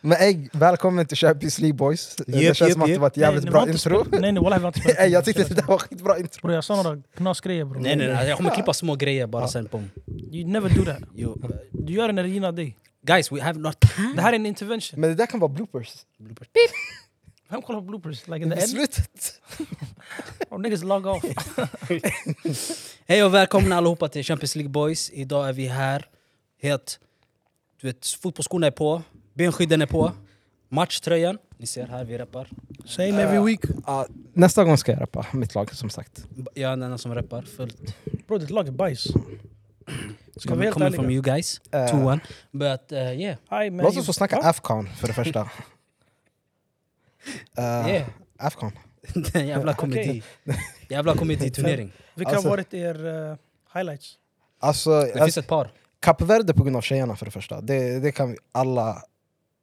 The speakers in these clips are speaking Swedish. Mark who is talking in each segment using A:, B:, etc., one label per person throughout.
A: Men ey, välkommen till Champions League boys. det
B: Yep,
A: känns
B: yep,
A: som att det
B: yep.
A: var ett jävligt
C: nej,
A: bra
C: det var inte
A: intro.
C: spe- Nej, nej wallah, vi har inte spelat
A: ey,
C: in
A: jag tyckte
C: hela
A: det
C: tiden.
A: där var skitbra intro.
C: Bror jag sa några knasgrejer bror.
B: Nej, nej, nej. Jag kommer klippa små grejer bara sen. Boom.
C: You never do that.
B: You,
C: Du gör det när det gynnar dig.
B: guys, we have no time.
C: Det här är en intervention.
A: Men det där kan vara bloopers.
C: Vem kollar på bloopers? Like in
A: I
C: the end?
A: slutet.
C: Or niggas log off.
B: Hej och välkomna allihopa till Champions League Boys. Idag är vi här. Helt, du vet, fotbollsskorna är på, benskydden är på, matchtröjan. Ni ser här, vi rappar. Eh,
C: Same every week.
A: Ja, nästa gång ska jag rappa mitt lag som sagt.
B: Jag är den enda som rappar fullt.
C: Bror ditt lag är bajs. Ska vi
B: Coming,
C: helt
B: coming from
C: ärliga?
B: you guys,
A: Eh,
B: 2-1. But uh, yeah,
C: Aj, men
A: Låt
C: you- Ah,
A: oss få snacka
C: Va?
A: Afghan för det första. Eh,
B: yeah.
A: Afghan.
B: Den jävla komedi. Jävla komediturnering.
C: Vilka har
A: Alltså-
C: varit er eh, highlights?
A: Alltså,
B: Det finns
A: alltså
B: ett par,
A: Kap Verde på grund av tjejerna för det första. Det, det kan vi alla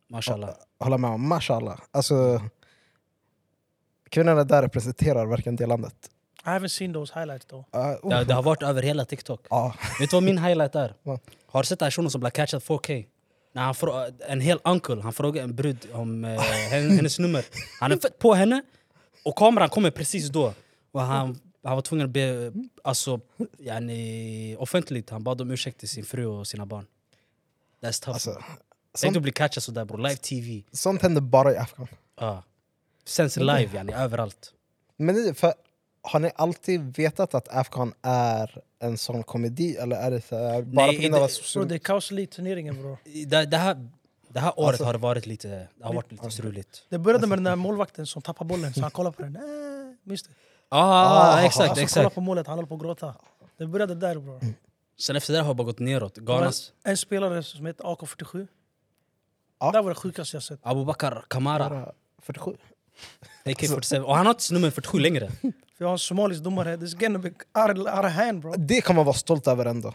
B: mashallah.
A: hålla med om. Mashallah. Alltså, kvinnorna där representerar verkligen det landet.
C: I haven't seen those highlights though.
A: Uh,
B: Det, det har varit över hela TikTok.
A: Ja,
B: Vet du vad min highlight är?
A: Vad?
B: Har du sett den här shunon som blev catchad 4K? När han frå- en hel uncle, han frågar en brud om eh, hen- hennes nummer. Han är fett på henne och kameran kommer precis då. Och han, han var tvungen att be, alltså, yani, offentligt, han bad om ursäkt till sin fru och sina barn. That's tough.
A: alltså,
B: Tänk du
A: sånt,
B: bli catchad sådär bror, live TV.
A: sånt händer bara i Afghan.
B: Ja. Sänds live yani, överallt.
A: Men ni, för, har ni alltid vetat att Afghan är en sån komedi eller är det så här, bara
B: Nej,
A: på grund av
B: det-
A: att
C: Bror det
A: social...
C: är kaos i turneringen bror.
B: Det, det, här, det här året
A: Alltså-
B: har det varit lite, det har varit lite struligt.
C: Det började med den där målvakten som tappar bollen så han kollar på den. Äh, minns du?
B: Ah,
A: Ah,
B: exakt,
C: Alltså, kollar
B: exakt.
C: på målet, han håller på att gråta. Det började där bror.
B: Sen efter det här har det bara gått neråt. Ghanas
C: En spelare som heter AK47.
A: Ja.
C: Där var det sjukaste jag sett.
B: Abubakar Kamara,
A: Bara 47.
B: AK47. Och han har inte nummer 47 längre.
C: För jag har en somalisk domare. här. This is gonna be out of hand bro.
A: Det kan man vara stolt över ändå.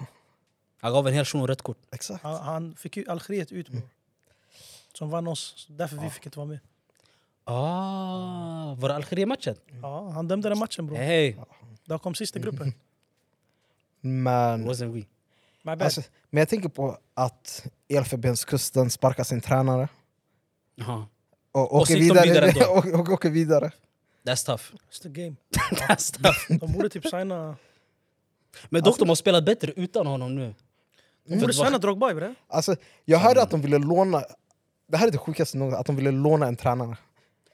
B: Han gav en hel shuno rött kort.
A: Exakt.
C: Han, han fick ju Algeriet ut bror. Som vann oss. Så Därför vi fick inte vara med.
B: Ah, var det Algeriet-matchen?
C: Ja, Ah, han dömde den matchen bror.
B: Hey,
C: Där kom sista gruppen.
A: Men,
B: wasn't we.
C: My bad.
A: alltså, men jag tänker på att Elfenbenskusten sparkar sin tränare
B: Jaha,
A: och,
B: Och
A: åker
B: så gick de
A: vidare.
B: vidare ändå.
A: och, och åker vidare.
B: That's tough.
C: It's the game.
B: That's tough.
C: De borde typ signa...
B: Men dock, de har spelat bättre utan honom nu.
C: De borde signa Drogba bre.
A: Alltså, jag hörde att de ville låna... Det här är det sjukaste någonsin, att de ville låna en tränare.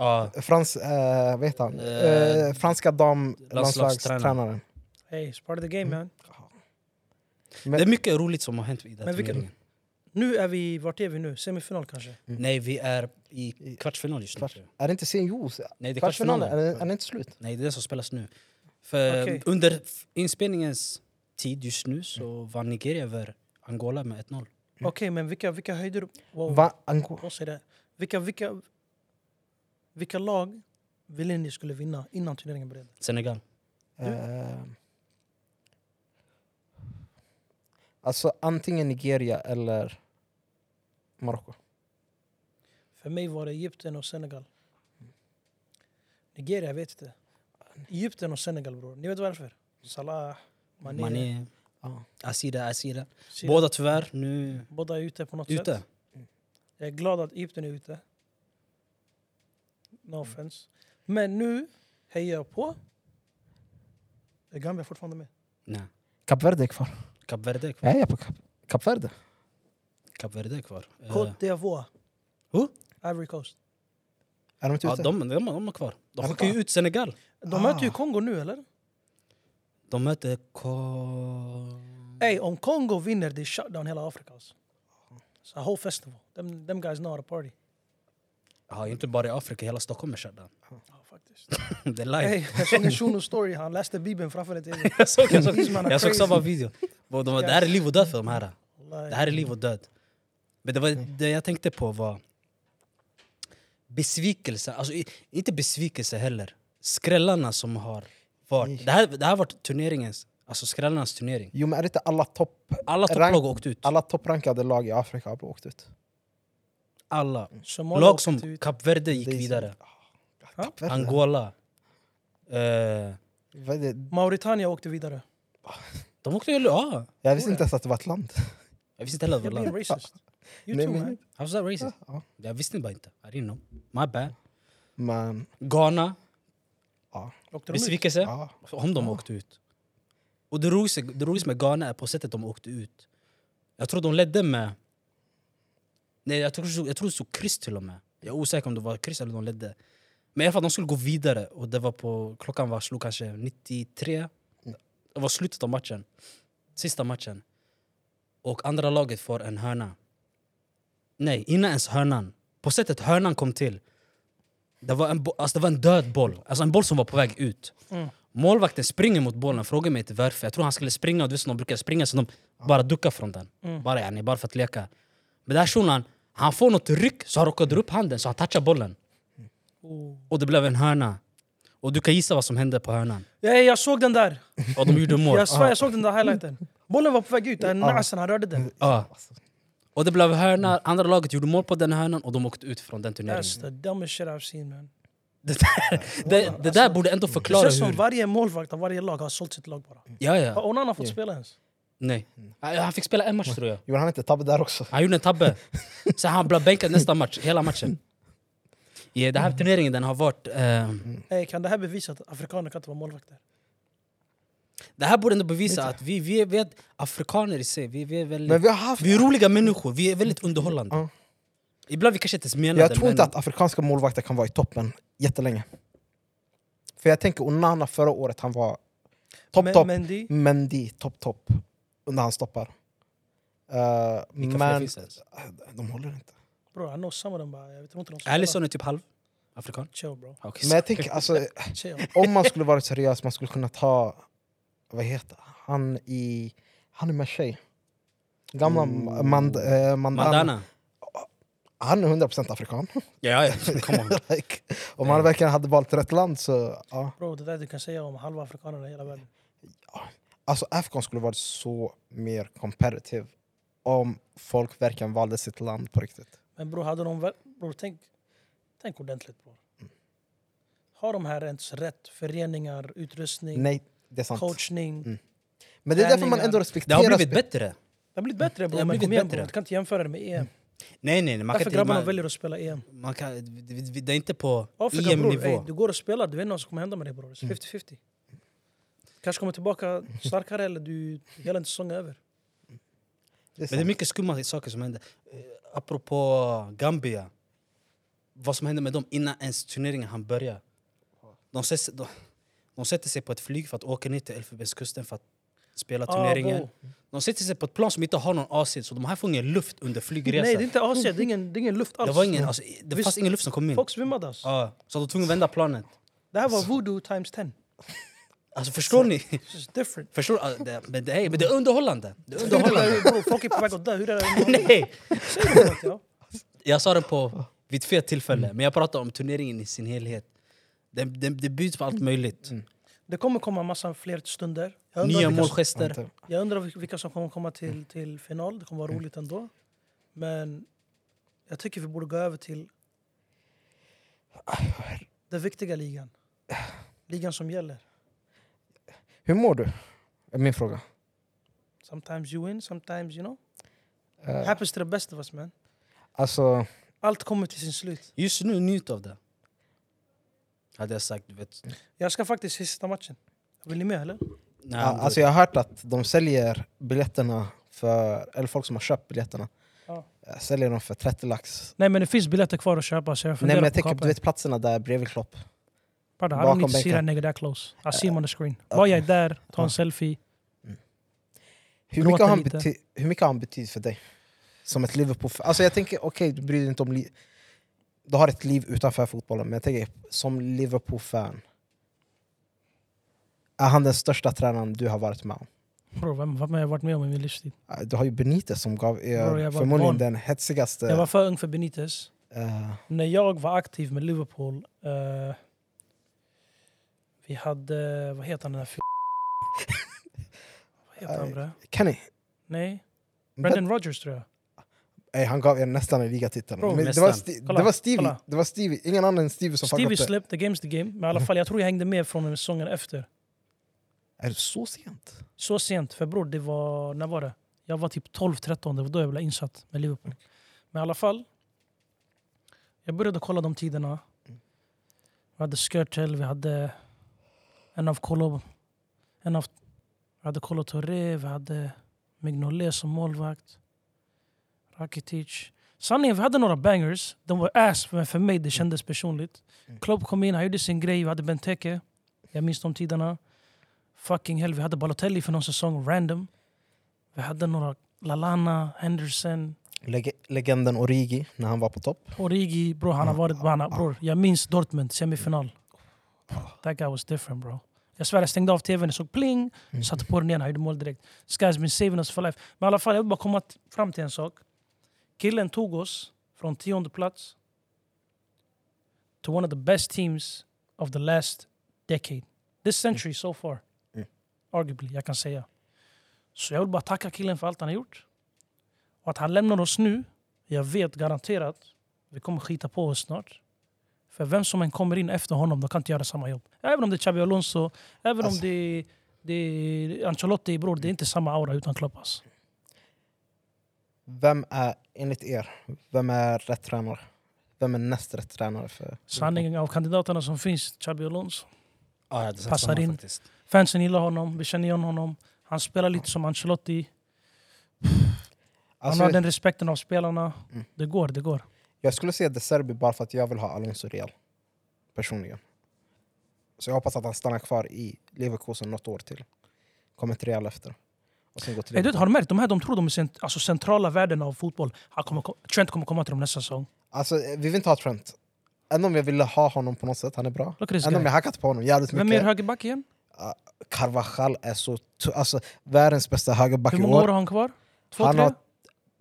B: Ah,
A: Frans, eh, vad heter han?
B: Eh,
A: Eh, franska damlandslagstränaren.
C: Hey, it's part of the game man.
B: det är mycket roligt som har hänt i den här
C: Men vilken-
B: turneringen.
C: Nu eh, är vi... Vart är vi nu? Semifinal kanske?
B: Nej, vi är i kvartsfinal just nu.
A: Kvart- Är det inte CNJO?
B: Nej, det är
A: Kvartsfinalen? Är,
B: kvartsfinalen.
A: det- är det inte slut?
B: Nej, det är det som spelas nu. För
C: Okej.
B: under f- inspelningens tid just nu så vann Nigeria över Angola med 1-0.
C: Okej, men vilka, vilka höjder... Wow.
A: Va, Ango-
C: Vad säger det? Vilka, vilka, vilka lag ville ni skulle vinna innan turneringen började?
B: Senegal.
A: eh, alltså antingen Nigeria eller Marocko.
C: För mig var det Egypten och Senegal. Nigeria, jag vet inte. Egypten och Senegal, bror. Ni vet varför? Salah, Mané,
B: Mané,
A: Ja.
B: Asida, Asida.
C: Sida.
B: Båda tyvärr nu
C: Båda är ute på något
B: ute.
C: sätt. Jag är glad att Egypten är ute.
B: Mm.
C: No offense. Men nu hejar jag på... Är Gambia fortfarande med?
B: Nej.
A: Kap Verde är kvar.
B: Kap Verde är kvar.
A: Jag är på Kap, Kap Verde.
B: Kap Verde är kvar. Eh,
C: Côte d'Ivoire.
B: Who?
C: Ivory Coast.
A: Är de inte
B: ja,
A: ute?
B: de, de, de är kvar. De
A: Är de
B: skickar ju ut Senegal.
C: De
A: Ah.
C: möter ju Kongo nu, eller?
B: De möter Ko...
C: Ey, om Kongo vinner, det är shutdown hela Afrika. Alltså. It's a whole festival. Them, them guys know how to party.
B: Ja, inte bara i Afrika, hela Stockholm är shutdown.
C: Ja, faktiskt.
B: Det är live.
C: Ey, jag såg en shuno-story. Han läste Bibeln framför en tv.
B: Jag såg, jag såg,
C: These men are
B: jag såg
C: crazy.
B: samma video. Och De, det här är liv och död för de här.
C: Wallahi.
B: Det här är liv och död. Men det, var, det jag tänkte på var besvikelse. Alltså, i- inte besvikelse heller. Skrällarna som har varit. Det här, det här var turneringens, alltså skrällarnas turnering.
A: Jo men är det inte alla, topp,
B: Alla
A: Rank-
B: topplag åkte ut.
A: alla topprankade lag i Afrika har åkt ut?
B: Alla.
C: Somalia
B: Lag
C: åkte
B: som
C: ut.
B: Kap Verde gick
A: Det är så-
B: vidare.
A: Ah, Kap Verde.
B: Angola. Eh,
A: Vad är det?
C: Mauritania åkte vidare.
B: de åkte ju... Ja.
A: Jag visste inte ens att det var ett land.
B: Jag visste inte heller vad
C: Jag blir
B: land.
C: racist. You
A: Nej,
C: too
A: men-
C: man.
B: How's that racist?
A: ja.
B: Jag visste bara inte. I didn't know. My bad.
A: Men,
B: Ghana,
A: ja.
C: Åkte de ut?
B: besvikelse.
A: ja.
B: Om de åkte ut. Och det roligaste, det roligaste med Ghana är på sättet de åkte ut. Jag tror de ledde med... Nej, jag tror, jag tror det stod kryss till och med. Jag är osäker om det var kryss eller de ledde. Men i alla fall, de skulle gå vidare och det var på... Klockan var, slog kanske 93. Det var slutet av matchen. Sista matchen. Och andra laget får en hörna. Nej, innan ens hörnan. På sättet hörnan kom till. Det var en, bo- alltså det var en död boll. Alltså en boll som var på väg ut.
C: Mm.
B: Målvakten springer mot bollen, frågar mig inte varför. Jag tror han skulle springa, och du vet som de brukar springa, så de bara duckar från den.
C: Mm.
B: Bara, yani, bara för att leka. Men den här shunon, han får något ryck, så han råkar dra upp handen, så han touchar bollen.
C: Oh.
B: Och det blev en hörna. Och du kan gissa vad som hände på hörnan.
C: Ja, ja, jag såg den där.
B: Och de gjorde mål.
C: Jag svär, jag såg den där highlighten. Bollen var på väg ut,
B: Ah.
C: Nasen han rörde den.
B: Ja.
A: Alltså,
B: Och det blev hörna, andra laget gjorde mål på den hörnan och de åkte ut från den
C: That's
B: turneringen.
C: the dumbest shit I've seen man.
B: Det där, det, det där borde ändå
C: Det
B: förklara
C: känns som
B: hur...
C: varje målvakt av varje lag har sålt sitt lag bara.
B: Ja,
C: Har
B: ja.
C: Onana fått spela ens?
B: Nej. Han fick spela en
C: Mm.
B: match tror jag.
A: Gjorde han inte tabbe där också?
B: Han gjorde en tabbe. Sen han blev bänkad nästa match, hela matchen. Ja, den här turneringen den har varit... Eh,
C: Hey, kan det här bevisa att afrikaner kan inte vara målvakter?
B: det här borde ändå bevisa att vi, vi, är, vi är afrikaner i sig. Vi, vi, är
A: Men
B: väldigt,
A: vi har haft...
B: vi är roliga människor, vi är väldigt underhållande.
A: Ja.
B: Ibland vi kanske inte ens menar
A: Jag
B: det,
A: tror inte att afrikanska målvakter kan vara i toppen jättelänge. För jag tänker Onana förra året, han var
C: Men-
A: topp-topp.
C: Mendy,
A: Mendy, topp-topp. Under hans toppar. Eh,
B: Vilka fler
A: men
B: finns det ens?
A: de håller inte. bro.
C: bror han når samma den bara. Jag tror inte de spelar.
B: Alisson är typ halv afrikan.
C: Chill bro.
B: Okay,
A: Men jag tänker, alltså,
C: Chill.
A: om man skulle varit seriös, man skulle kunna ta... Vad heter han i... Han är med tjej. Gamla
B: Ooh.
A: Mand, eh, Mandana.
B: Mandana.
A: Han är 100% afrikan.
B: Ja, ja. Kom ihåg.
A: like, om han verkligen hade valt rätt land så... Ja.
C: Bro, det där du kan säga om halva afrikanerna i hela världen.
A: Alltså Afghan skulle varit så mer competitive om folk verkligen valde sitt land på riktigt.
C: Men bror, hade de väl... Bror, tänk, tänk ordentligt bror. Har de här ens rätt? Föreningar, utrustning,
A: Nej, det är sant.
C: coachning.
A: Mm. Men det är därför man
C: träningar.
A: ändå
B: Det har
A: respekterar...
B: blivit
A: spe-
B: bättre.
C: Det har blivit bättre
B: Det
C: bror,
B: har
C: men
B: blivit
C: kom igen
B: bättre. Mm.
C: bror. Du kan inte jämföra det med EM.
B: Nej, nej, nej. Man
C: Därför
B: kan inte,
C: grabbarna
B: man,
C: väljer att spela EM.
B: man kan, det- det- det är inte på E
C: Afrika bror, ey,
B: EM-nivå.
C: du går och spelar, du vet inte vad som kommer hända med dig bror.
B: Mm.
C: 50-50. Kanske kommer tillbaka starkare eller du, hela säsongen är över.
A: det är
B: Men det är
A: sant.
B: mycket skumma saker som händer. Eh, Apropå Gambia. Vad som hände med dem innan ens turneringen hann börja. De, ses, de, de sätter sig på ett flyg för att åka ner till Elfenbenskusten för att spela
C: Ah,
B: turneringen.
C: bro.
B: de sätter sig på ett plan som inte har någon AC så de här får ingen luft under flygresan.
C: Nej det är inte AC, det är ingen, det är ingen luft alls.
B: det var ingen, alltså, det
C: Visst.
B: fanns ingen luft som kom in.
C: Folk svimmade alltså.
B: Ja, så de var tvungna att vända planet.
C: Det här var voodoo times 10.
B: Alltså förstår ni?
C: It's just different.
B: Förstår, du? Alltså, det, men, det är, men det är underhållande. Det är underhållande.
C: Bro, folk är på väg att dö, hur är det?
B: Nej!
C: Säg det något, ja.
B: Jag sa det
C: Oh.
B: på, vid ett fel tillfälle,
C: Mm.
B: men jag pratar om turneringen i sin helhet. Det, det, det byts på allt möjligt.
C: Det kommer komma massa fler stunder. Mm. Jag undrar,
B: Nya
C: vilka, som,
B: målgester.
A: Vänta.
C: jag undrar vil- vilka som kommer komma till, till final. Det kommer vara roligt ändå. Men jag tycker vi borde gå över till den viktiga ligan. Ligan som gäller.
A: Hur mår du? Är min fråga.
C: Sometimes you win, sometimes you know.
A: Uh,
C: Happens to the best of us man.
A: alltså,
C: Allt kommer till sin slut.
B: Just nu, njut av det. Hade jag sagt, du vet.
C: Jag ska faktiskt se sista matchen. Vill ni med eller?
B: Nej,
A: ja, alltså, jag har hört att de säljer biljetterna, för, eller folk som har köpt biljetterna,
C: Ja.
A: eh, säljer dem för 30 lax.
C: Nej men det finns biljetter kvar att köpa så jag
A: Nej,
C: funderar
A: men
C: Nej,
A: jag
C: på
A: tänker,
C: att
A: du
C: kapa
A: vet platserna där bredvid Klopp?
C: Pardon, I
A: bakom
C: don't need to see
A: bänken.
C: that nigga that close. I see him on the screen.
A: Eh,
C: Var jag är där, ta en
A: ja.
C: selfie.
A: Hur
C: Gråta
A: mycket, har han
C: lite.
A: bety- hur mycket har han betytt för dig? Som ett Liverpool... Alltså jag tänker, okej, du bryr dig inte om... Li- du har ett liv utanför fotbollen, men jag tänker som Liverpool-fan. Är han den största tränaren du har varit med om?
C: Bro, vem, vad har jag varit med om i min livstid?
A: Eh, Du har ju Benitez som gav er
C: Bro, jag var
A: förmodligen
C: barn.
A: den hetsigaste...
C: Jag var för ung för Benitez.
A: eh,
C: När jag var aktiv med Liverpool, eh, vi hade, vad heter han den där nou? f- Vad heter han
A: Eh,
C: bre?
A: Kenny,
C: Nej, Brendan Rodgers tror jag.
A: eh, han gav er nästan en ligatitel.
C: Bro,
A: Men det,
B: nästan.
A: var Sti-
C: Kolla,
A: det var Stevie,
C: kolla.
A: det var Stevie, ingen annan än Stevie som fuckade
C: Stevie
A: upp det.
C: släppte the game's the game, men i alla fall jag tror jag hängde med från säsongen efter.
A: Är det så sent?
C: Så sent, för bror det var, när var det? Jag var typ 12-13, det var då jag blev insatt med Liverpool. Men i alla fall. Jag började kolla de tiderna. Vi hade Skirtel, vi hade en av Kolob. En av, vi hade Kolo Touré, vi hade Mignolet som målvakt. Rakitic. Sanningen, vi hade några bangers. De var ass, men för mig det kändes personligt.
A: Mm.
C: Klopp kom in, han gjorde sin grej. Vi hade Benteke. Jag minns de tiderna. Fucking hell, vi hade Balotelli för någon säsong, random. Vi hade några Lalana, Henderson,
A: Leg- legenden Origi, när han var på topp.
C: Origi, bror han har
A: Ja,
C: varit...
A: ja,
C: Han har,
A: ja.
C: bror, jag minns Dortmund semifinal. That guy was different bro. Jag svär jag stängde av tvn, jag såg pling,
A: Mm.
C: satte på den igen, han gjorde mål direkt. This guy's been saving us for life. Men i alla fall, jag vill bara komma t- fram till en sak. Killen tog oss från tionde plats to one of the best teams of the last decade. This century so far.
A: Mm.
C: Arguably, jag kan säga. Så jag vill bara tacka killen för allt han har gjort. Och att han lämnar oss nu, jag vet garanterat vi kommer skita på oss snart. För vem som än kommer in efter honom, de kan inte göra samma jobb. Även om det är Xabi Alonso, även
A: Alltså.
C: om det är, det är Ancelotti, bror, det är inte samma aura utan Klopp. Alltså.
A: Vem är, enligt er, vem är rätt tränare? Vem är näst rätt tränare? För
C: Sanningen av kandidaterna som finns, Xabi Alonso.
B: Ja, jag hade sagt
C: Passar
B: samma
C: in.
B: faktiskt.
C: Fansen gillar honom, vi känner igen honom. Han spelar lite som Ancelotti. Han
A: Alltså,
C: har den respekten av spelarna.
A: Mm.
C: Det går, det går.
A: Jag skulle säga De Serbi bara för att jag vill ha Alonso Real. Personligen. Så jag hoppas att han stannar kvar i Leverkusen något år till. Kommer till Real efter. Och sen går till
C: Hey, du, vet,
A: Liverpool.
C: har du märkt? De här de tror de är cent- alltså centrala värden av fotboll. Han kommer, ko- Trent kommer komma till dem nästa säsong.
A: Alltså, vi vill inte ha Trent. Även om jag ville ha honom på något sätt, han är bra.
C: Look at this
A: Även om
C: guy.
A: jag hackat på honom jävligt
C: Vem är
A: mycket.
C: högerback igen?
A: Carvajal är så... tu- Alltså, världens bästa högerback
C: Hur
A: i
C: många år
A: år.
C: har han kvar? Två,
A: Han
C: tre?
A: har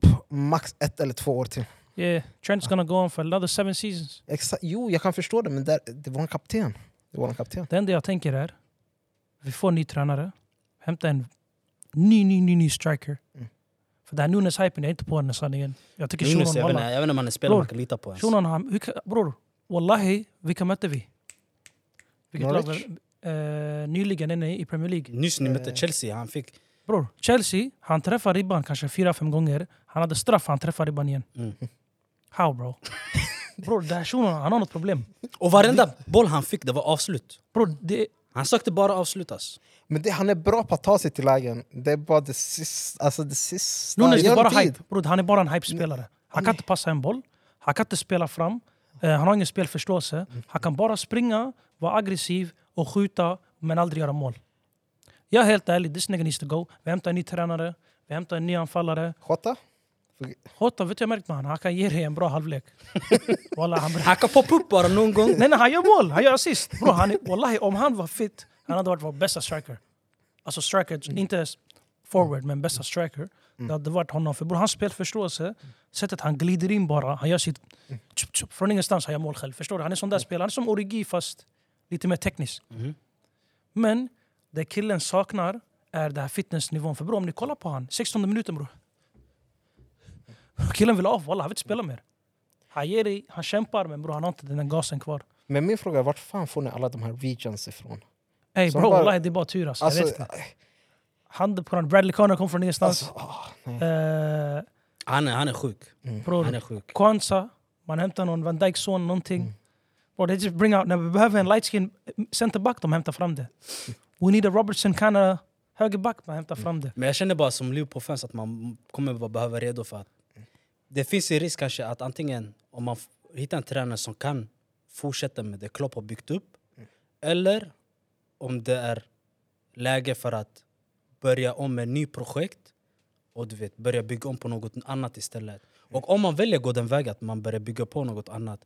A: pff, max ett eller två år till.
C: Yeah, Eh, Trent's gonna go on for another seven seasons.
A: Exa jo, jag kan förstå det, men där, det var en kapten. Det var en kapten.
C: Det enda jag tänker är, vi får en ny tränare, hämta en ny, ny, ny, ny striker.
A: Mm.
C: För den här Nunes-hypen, jag är inte på den sanningen. Jag tycker
B: Nunes,
C: Shunon,
B: jag, vet inte,
C: wallah.
B: jag vet inte om han är spelare
C: Bror,
B: man kan lita på ens.
C: Shunon, han, hur kan- bror, wallahi, vilka mötte vi? Vilket lag?
A: Norwich?
C: Eh, nyligen, nej, nej, i Premier League.
B: Nyss ni mötte
A: Eh.
B: Chelsea, han fick...
C: Bror, Chelsea, han träffar ribban kanske fyra, fem gånger. Han hade straff, han träffar ribban igen.
B: Mm.
C: How bro? bror, den här Shunon, han har något problem.
B: Och varenda boll han fick, det var avslut.
C: Bror, det
B: Han sökte bara avslut alltså.
A: Men det, han är bra på att ta sig till lägen. Det är bara det sista... Alltså det sista...
C: Nunes
A: Ge
C: är
A: honom
C: bara
A: tid.
C: hype. Bror, han är bara en hype-spelare. Han kan inte passa en boll, han kan inte spela fram, eh, han har ingen spelförståelse. Han kan bara springa, vara aggressiv och skjuta, men aldrig göra mål. Jag är helt ärlig, this nigga needs to go. Vi hämtar en ny tränare, vi hämtar en ny anfallare.
A: Jota?
C: Hotta, vet du jag märkt med honom? Han kan ge dig en bra halvlek. Wallah, han,
B: Han kan poppa upp bara någon gång.
C: nej, nej, han gör mål, han gör assist. Bro, han är, wallahi, om han var fit, han hade varit vår bästa striker. Alltså striker, inte s- forward, men bästa striker. Det hade varit honom. För bror, hans spelförståelse, sättet han glider in bara, han gör sitt... Tjup, tjup, från ingenstans han gör mål själv. Förstår du? Han är sån där spelare, han är som Origi fast lite mer teknisk.
B: Mhm.
C: Men det killen saknar är den här fitnessnivån. För bror, om ni kollar på han, 16 minuten bror. Killen vill av, wallah, han vill inte spela mer. Han ger dig, han kämpar, men bror han har inte den där gasen kvar.
A: Men min fråga är, vart fan får ni alla de här regions ifrån?
C: Ey
A: Som
C: bro,
A: bara-
C: wallahi, det är bara tur alltså.
A: Alltså,
C: jag vet inte. Handen på den. Bradley Connor kom från ingenstans.
A: alltså, ah, nej.
C: Eh,
B: Han är, han är sjuk. Han är
C: bror,
B: sjuk.
C: Kwanza, man hämtar någon Van Dijk son, någonting.
A: Mm.
C: Bro, they just bring out, när vi behöver en light skin centerback, de hämtar fram det. We need a Robertson kinda högerback, man hämtar fram det.
B: Men jag känner bara som Liverpool-fans att man kommer vara- behöva vara redo för att... Det finns en risk kanske att antingen om man f- hittar en tränare som kan fortsätta med det Klopp har byggt upp. Eller om det är läge för att börja om med ny projekt och du vet, börja bygga om på något annat istället.
A: Mm.
B: Och om man väljer att gå den vägen, att man börjar bygga på något annat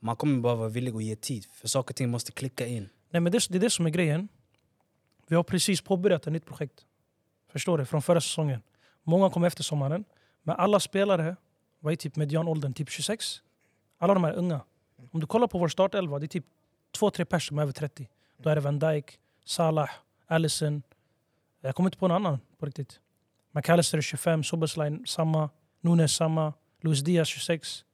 B: man kommer bara vara villig att ge tid, för saker och ting måste klicka in.
C: Nej, men det, det är det som är grejen. Vi har precis påbörjat ett nytt projekt. Förstår du? Från förra säsongen. Många kom efter sommaren. Men alla spelare var i typ medianåldern, typ 26. Alla de här unga. Om du kollar på vår startelva, det är typ två, tre personer som är över 30. Då är det Van Dijk, Salah, Allison. Jag kommer inte på någon annan på riktigt. McAllister är 25, Sobersline samma, Nunes samma, Luis Diaz 26.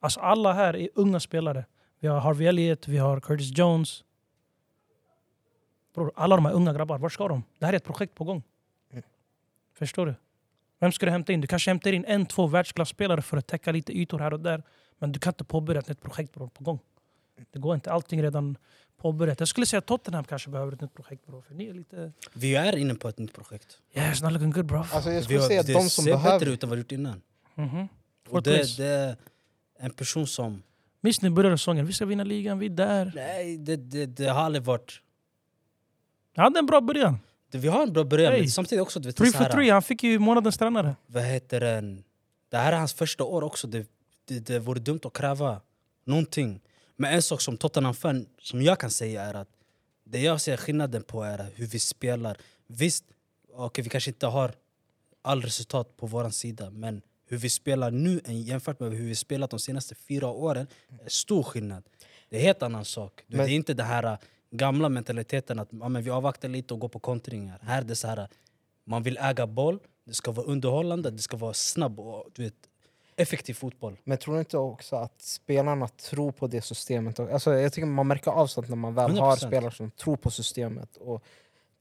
C: Alltså alla här är unga spelare. Vi har Harvey Elliott, vi har Curtis Jones.
B: Mm.
C: Bror, alla de här unga grabbar, vart ska de? Det här är ett projekt på gång. Förstår du? Vem ska du hämta in? Du kanske hämtar in en, två världsklasspelare för att täcka lite ytor här och där. Men du kan inte påbörja ett nytt projekt bror, på gång. Det går inte. Allting är redan påbörjat. Jag skulle säga att Tottenham kanske behöver ett nytt projekt bror. För ni är lite...
B: Vi är inne på ett nytt projekt.
C: Yes, not looking good bro.
A: Alltså jag
B: Vi
A: skulle
B: har,
A: säga att
B: det
A: de som
B: ser
A: behöver...
B: bättre ut än vad vi gjort innan.
C: Mhm.
B: Och
C: Fourth
B: det,
C: place.
B: det är en person som...
C: Minns ni började säsongen? Vi ska vinna ligan, vi är där.
B: Nej, det, det, det har aldrig varit...
C: Han hade en bra början.
B: Det, vi har en bra början,
C: Hey.
B: men samtidigt också... Du vet,
C: Three
B: så
C: for
B: här,
C: three, han fick ju månadens tränare.
B: Vad heter den? Det här är hans första år också. Det, det, det vore dumt att kräva någonting. Men en sak som Tottenham-fan, som jag kan säga är att det jag ser skillnaden på är hur vi spelar. Visst, okej vi kanske inte har all resultat på vår sida men hur vi spelar nu än jämfört med hur vi spelat de senaste fyra åren är stor skillnad. Det är en helt annan sak. Du,
A: Men-
B: det är inte den här äh, gamla mentaliteten att ja, men vi avvaktar lite och går på kontringar. Här är det så här, äh, man vill äga boll, det ska vara underhållande, det ska vara snabb och du vet, effektiv fotboll.
A: Men tror du inte också att spelarna tror på det systemet? Och- Alltså, jag tycker man märker av sånt när man väl har
B: 100%.
A: spelare som tror på systemet och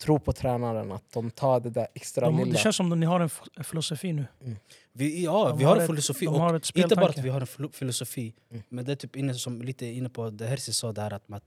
A: tror på tränaren, att de tar det där extra
C: De, det
A: lilla.
C: känns som att ni har en f- en filosofi nu.
B: Vi, ja,
C: De
B: vi har
C: har
B: en
C: ett-
B: filosofi.
C: de
B: och
C: har ett
B: inte bara att
C: speltanke.
B: vi har en filo- filosofi,
A: Mm.
B: men det är typ inne, som lite inne på det Herzi sa där, att man,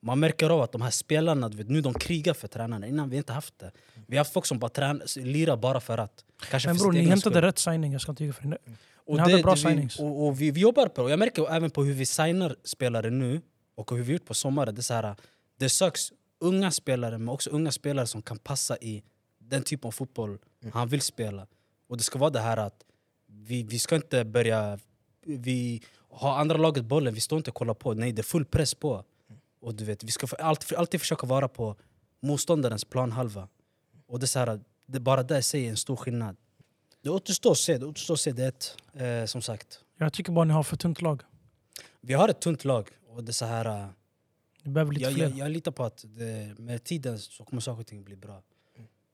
B: man märker av att de här spelarna, du vet, nu de krigar för tränarna. Innan vi inte haft det. Vi har haft folk som bara träna, lirar bara för att. Kanske
C: Mm.
B: Mm. för
C: Men bror,
B: sitt
C: ni
B: egen
C: hämtade
B: skull.
C: rätt signing. Jag ska inte ljuga för er.
B: Och
C: Ni hade bra
B: vi,
C: signings.
B: Och, och vi, vi jobbar på det. Jag märker även på hur vi signar spelare nu och hur vi gjort på sommaren. Det, är så här, det söks unga spelare, men också unga spelare som kan passa i den typen av fotboll
C: Mm.
B: han vill spela. Och det ska vara det här att vi, vi ska inte börja... Vi har andra laget bollen, vi står inte och kollar på. Nej, det är full press på. Och du vet, vi ska för, alltid, alltid försöka vara på motståndarens planhalva. Och det är så här, det, bara det i sig är en stor skillnad. Det återstår att se. Det återstår att se det är ett, eh, som sagt.
C: Jag tycker bara ni har för tunt lag.
B: Vi har ett tunt lag. Och det är så här, eh,
C: Ni behöver lite
B: jag,
C: fler.
B: jag, jag litar på att det, med tiden så kommer saker och ting bli bra.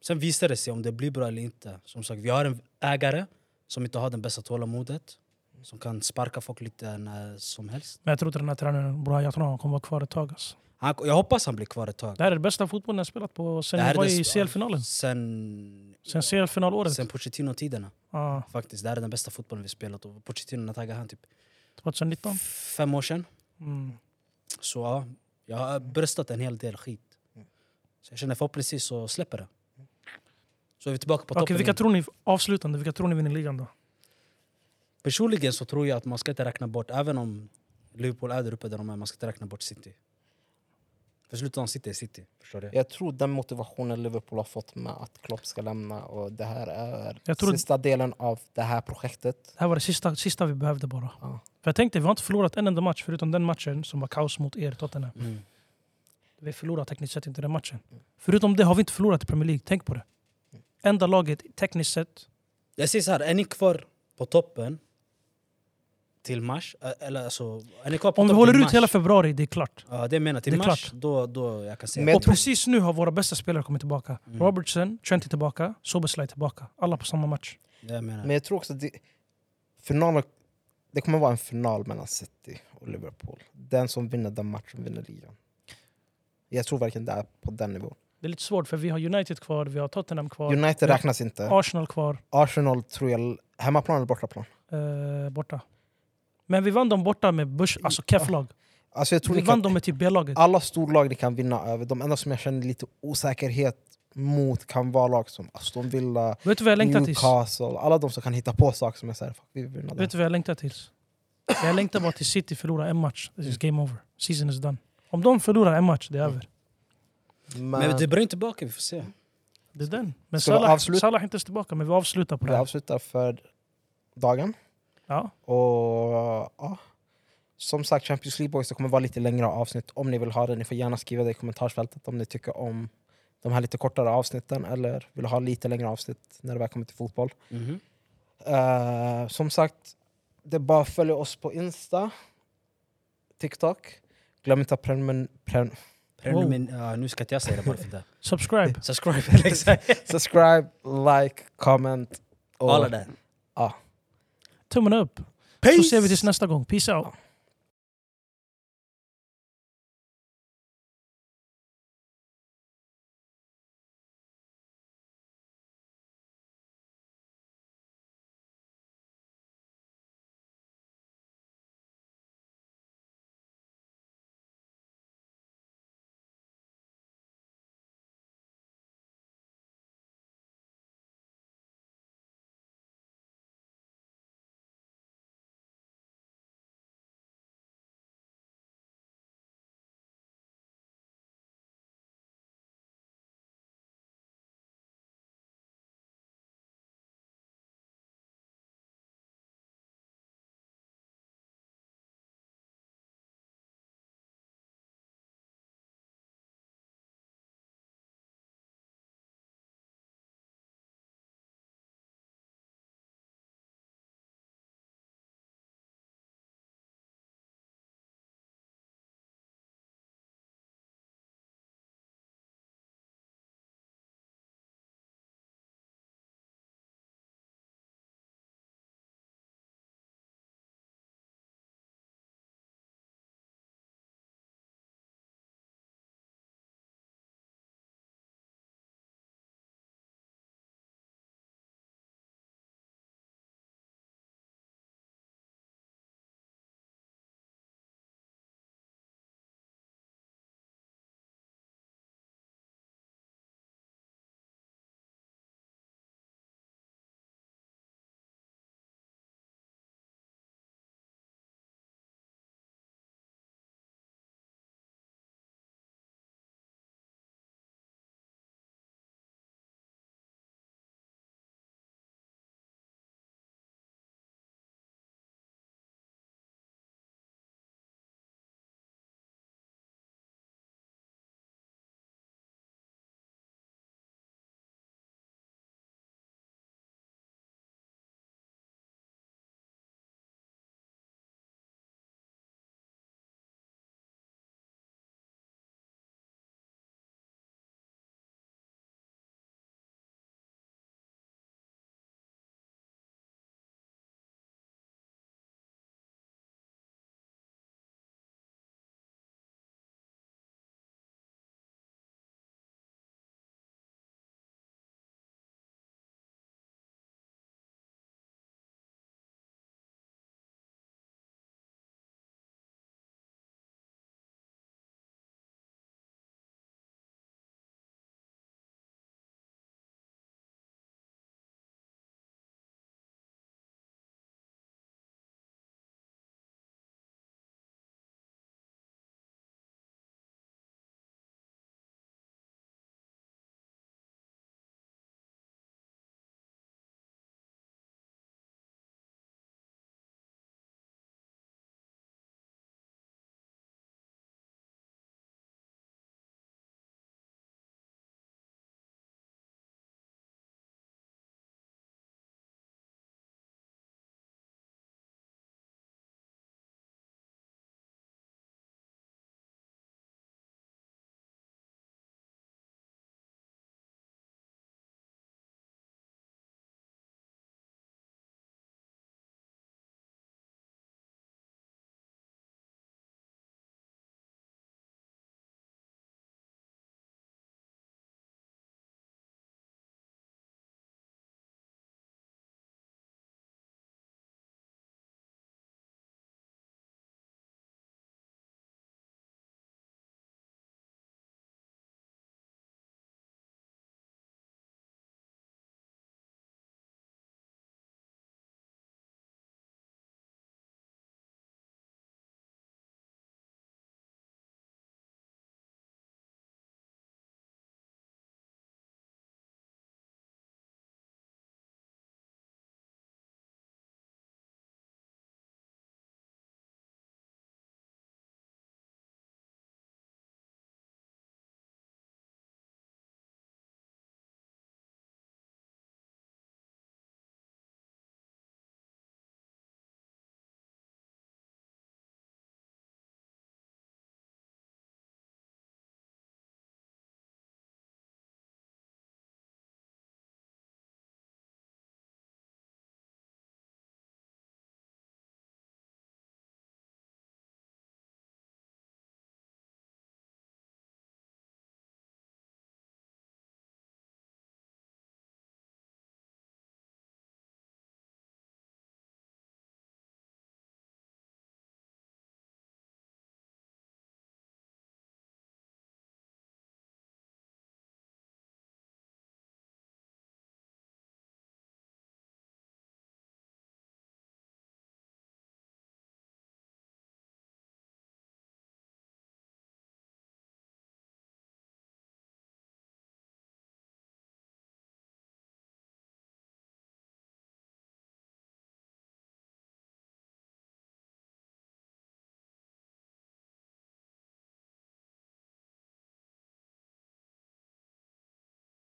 B: Sen visar det sig om det blir bra eller inte. Som sagt, vi har en ägare som inte har det bästa tålamodet. Som kan sparka folk lite när som helst.
C: Men jag tror inte den här tränaren, bror, jag tror han kommer vara kvar ett tag. Alltså.
B: Han, jag hoppas han blir kvar ett tag.
C: Det här är det bästa fotbollen jag spelat på sen
B: Det här
C: jag
B: är
C: var
B: det
C: i
B: sp-
C: CL-finalen.
B: Sen,
C: Sen CL-finalåret.
B: sen Pochettino-tiderna.
C: Ja,
B: Faktiskt, det här är den bästa fotbollen vi spelat. Och Pochettino, när taggade han? Typ
C: 2019.
B: fem år sedan.
C: Mm.
B: Så ja, jag har bröstat en hel del skit. Så jag känner förhoppningsvis så släpper det. Så är vi tillbaka på toppen.
C: Okej, vilka
B: igen.
C: tror ni, avslutande, vilka tror ni vinner ligan då?
B: Personligen så tror jag att man ska inte räkna bort, även om Liverpool är där uppe där de är, man ska inte räkna bort City. För slutändan City är City, förstår du?
A: Jag tror den motivationen Liverpool har fått med att Klopp ska lämna och det här är
C: Jag tror-
A: sista delen av det här projektet.
C: Det här var det sista, sista vi behövde bara.
A: Ja.
C: För jag tänkte, vi har inte förlorat en enda match förutom den matchen som var kaos mot er, Tottenham.
B: Mm.
C: Vi förlorade tekniskt sett inte den matchen. Förutom det har vi inte förlorat i Premier League, tänk på det.
B: Mm.
C: Enda laget tekniskt sett,
B: Jag säger så här, är ni kvar på toppen till mars? Ä- Eller alltså, är ni kvar på
C: om vi
B: toppen
C: håller
B: till
C: ut
B: mars?
C: hela februari, det är klart.
B: Ja, det menar jag.
C: Det
B: Till
C: är
B: mars,
C: klart.
B: då, då jag kan säga...
A: Men-
C: Och precis nu har våra bästa spelare kommit tillbaka.
B: Mm.
C: Robertson, Trent är tillbaka, Sobeslaj är tillbaka. Alla på samma match.
B: Jag menar.
A: Men jag tror också att det, finalen, det kommer vara en final mellan City och Liverpool. Den som vinner den matchen vinner ligan. Jag tror verkligen det är på den nivån.
C: Det är lite svårt för vi har United kvar, vi har Tottenham kvar,
A: United
C: Ja.
A: räknas inte.
C: Arsenal kvar,
A: Arsenal tror jag... Hemmaplan eller bortaplan?
C: eh, borta. Men vi vann dem borta med Bush, alltså Kef-lag.
A: Alltså jag tror
C: Vi
A: ni
C: vann
A: kan,
C: dem med typ B-laget.
A: alla storlag ni kan vinna över, de enda som jag känner lite osäkerhet mot kan vara lag som Aston Villa,
C: Vet du vad jag längtar tills?
A: Newcastle, alla de som kan hitta på saker som är såhär, fuck vi vill vinna
C: Vet
A: det.
C: du vad jag längtar tills? Jag längtar bara till City förlorar en match. This is game over. Season is done. Om de förlorar en match, det är
A: Mm.
C: över.
B: Men
A: Men
B: det blir inte tillbaka, vi får se.
C: Det är den. Men
A: Ska vi
C: Salah,
A: avsluta?
C: Salah är inte ens tillbaka, men vi avslutar på
A: vi
C: det här.
A: avslutar för dagen.
C: Ja.
A: Och ja. Som sagt, Champions League Boys, det kommer vara lite längre avsnitt om ni vill ha det. Ni får gärna skriva det i kommentarsfältet om ni tycker om de här lite kortare avsnitten eller vill ha lite längre avsnitt när det väl kommer till fotboll.
B: Mhm.
A: Eh, som sagt, det är bara att följa oss på Insta, TikTok. Glöm inte att prenumer- pren-
B: Prenumin- ja, nu ska inte jag säga det bara för det.
C: Subscribe.
B: Subscribe, exakt.
A: subscribe, like, comment. och-
B: All of that.
C: Tummen upp. Så
B: Peace!
C: ser vi tills nästa gång. Peace out.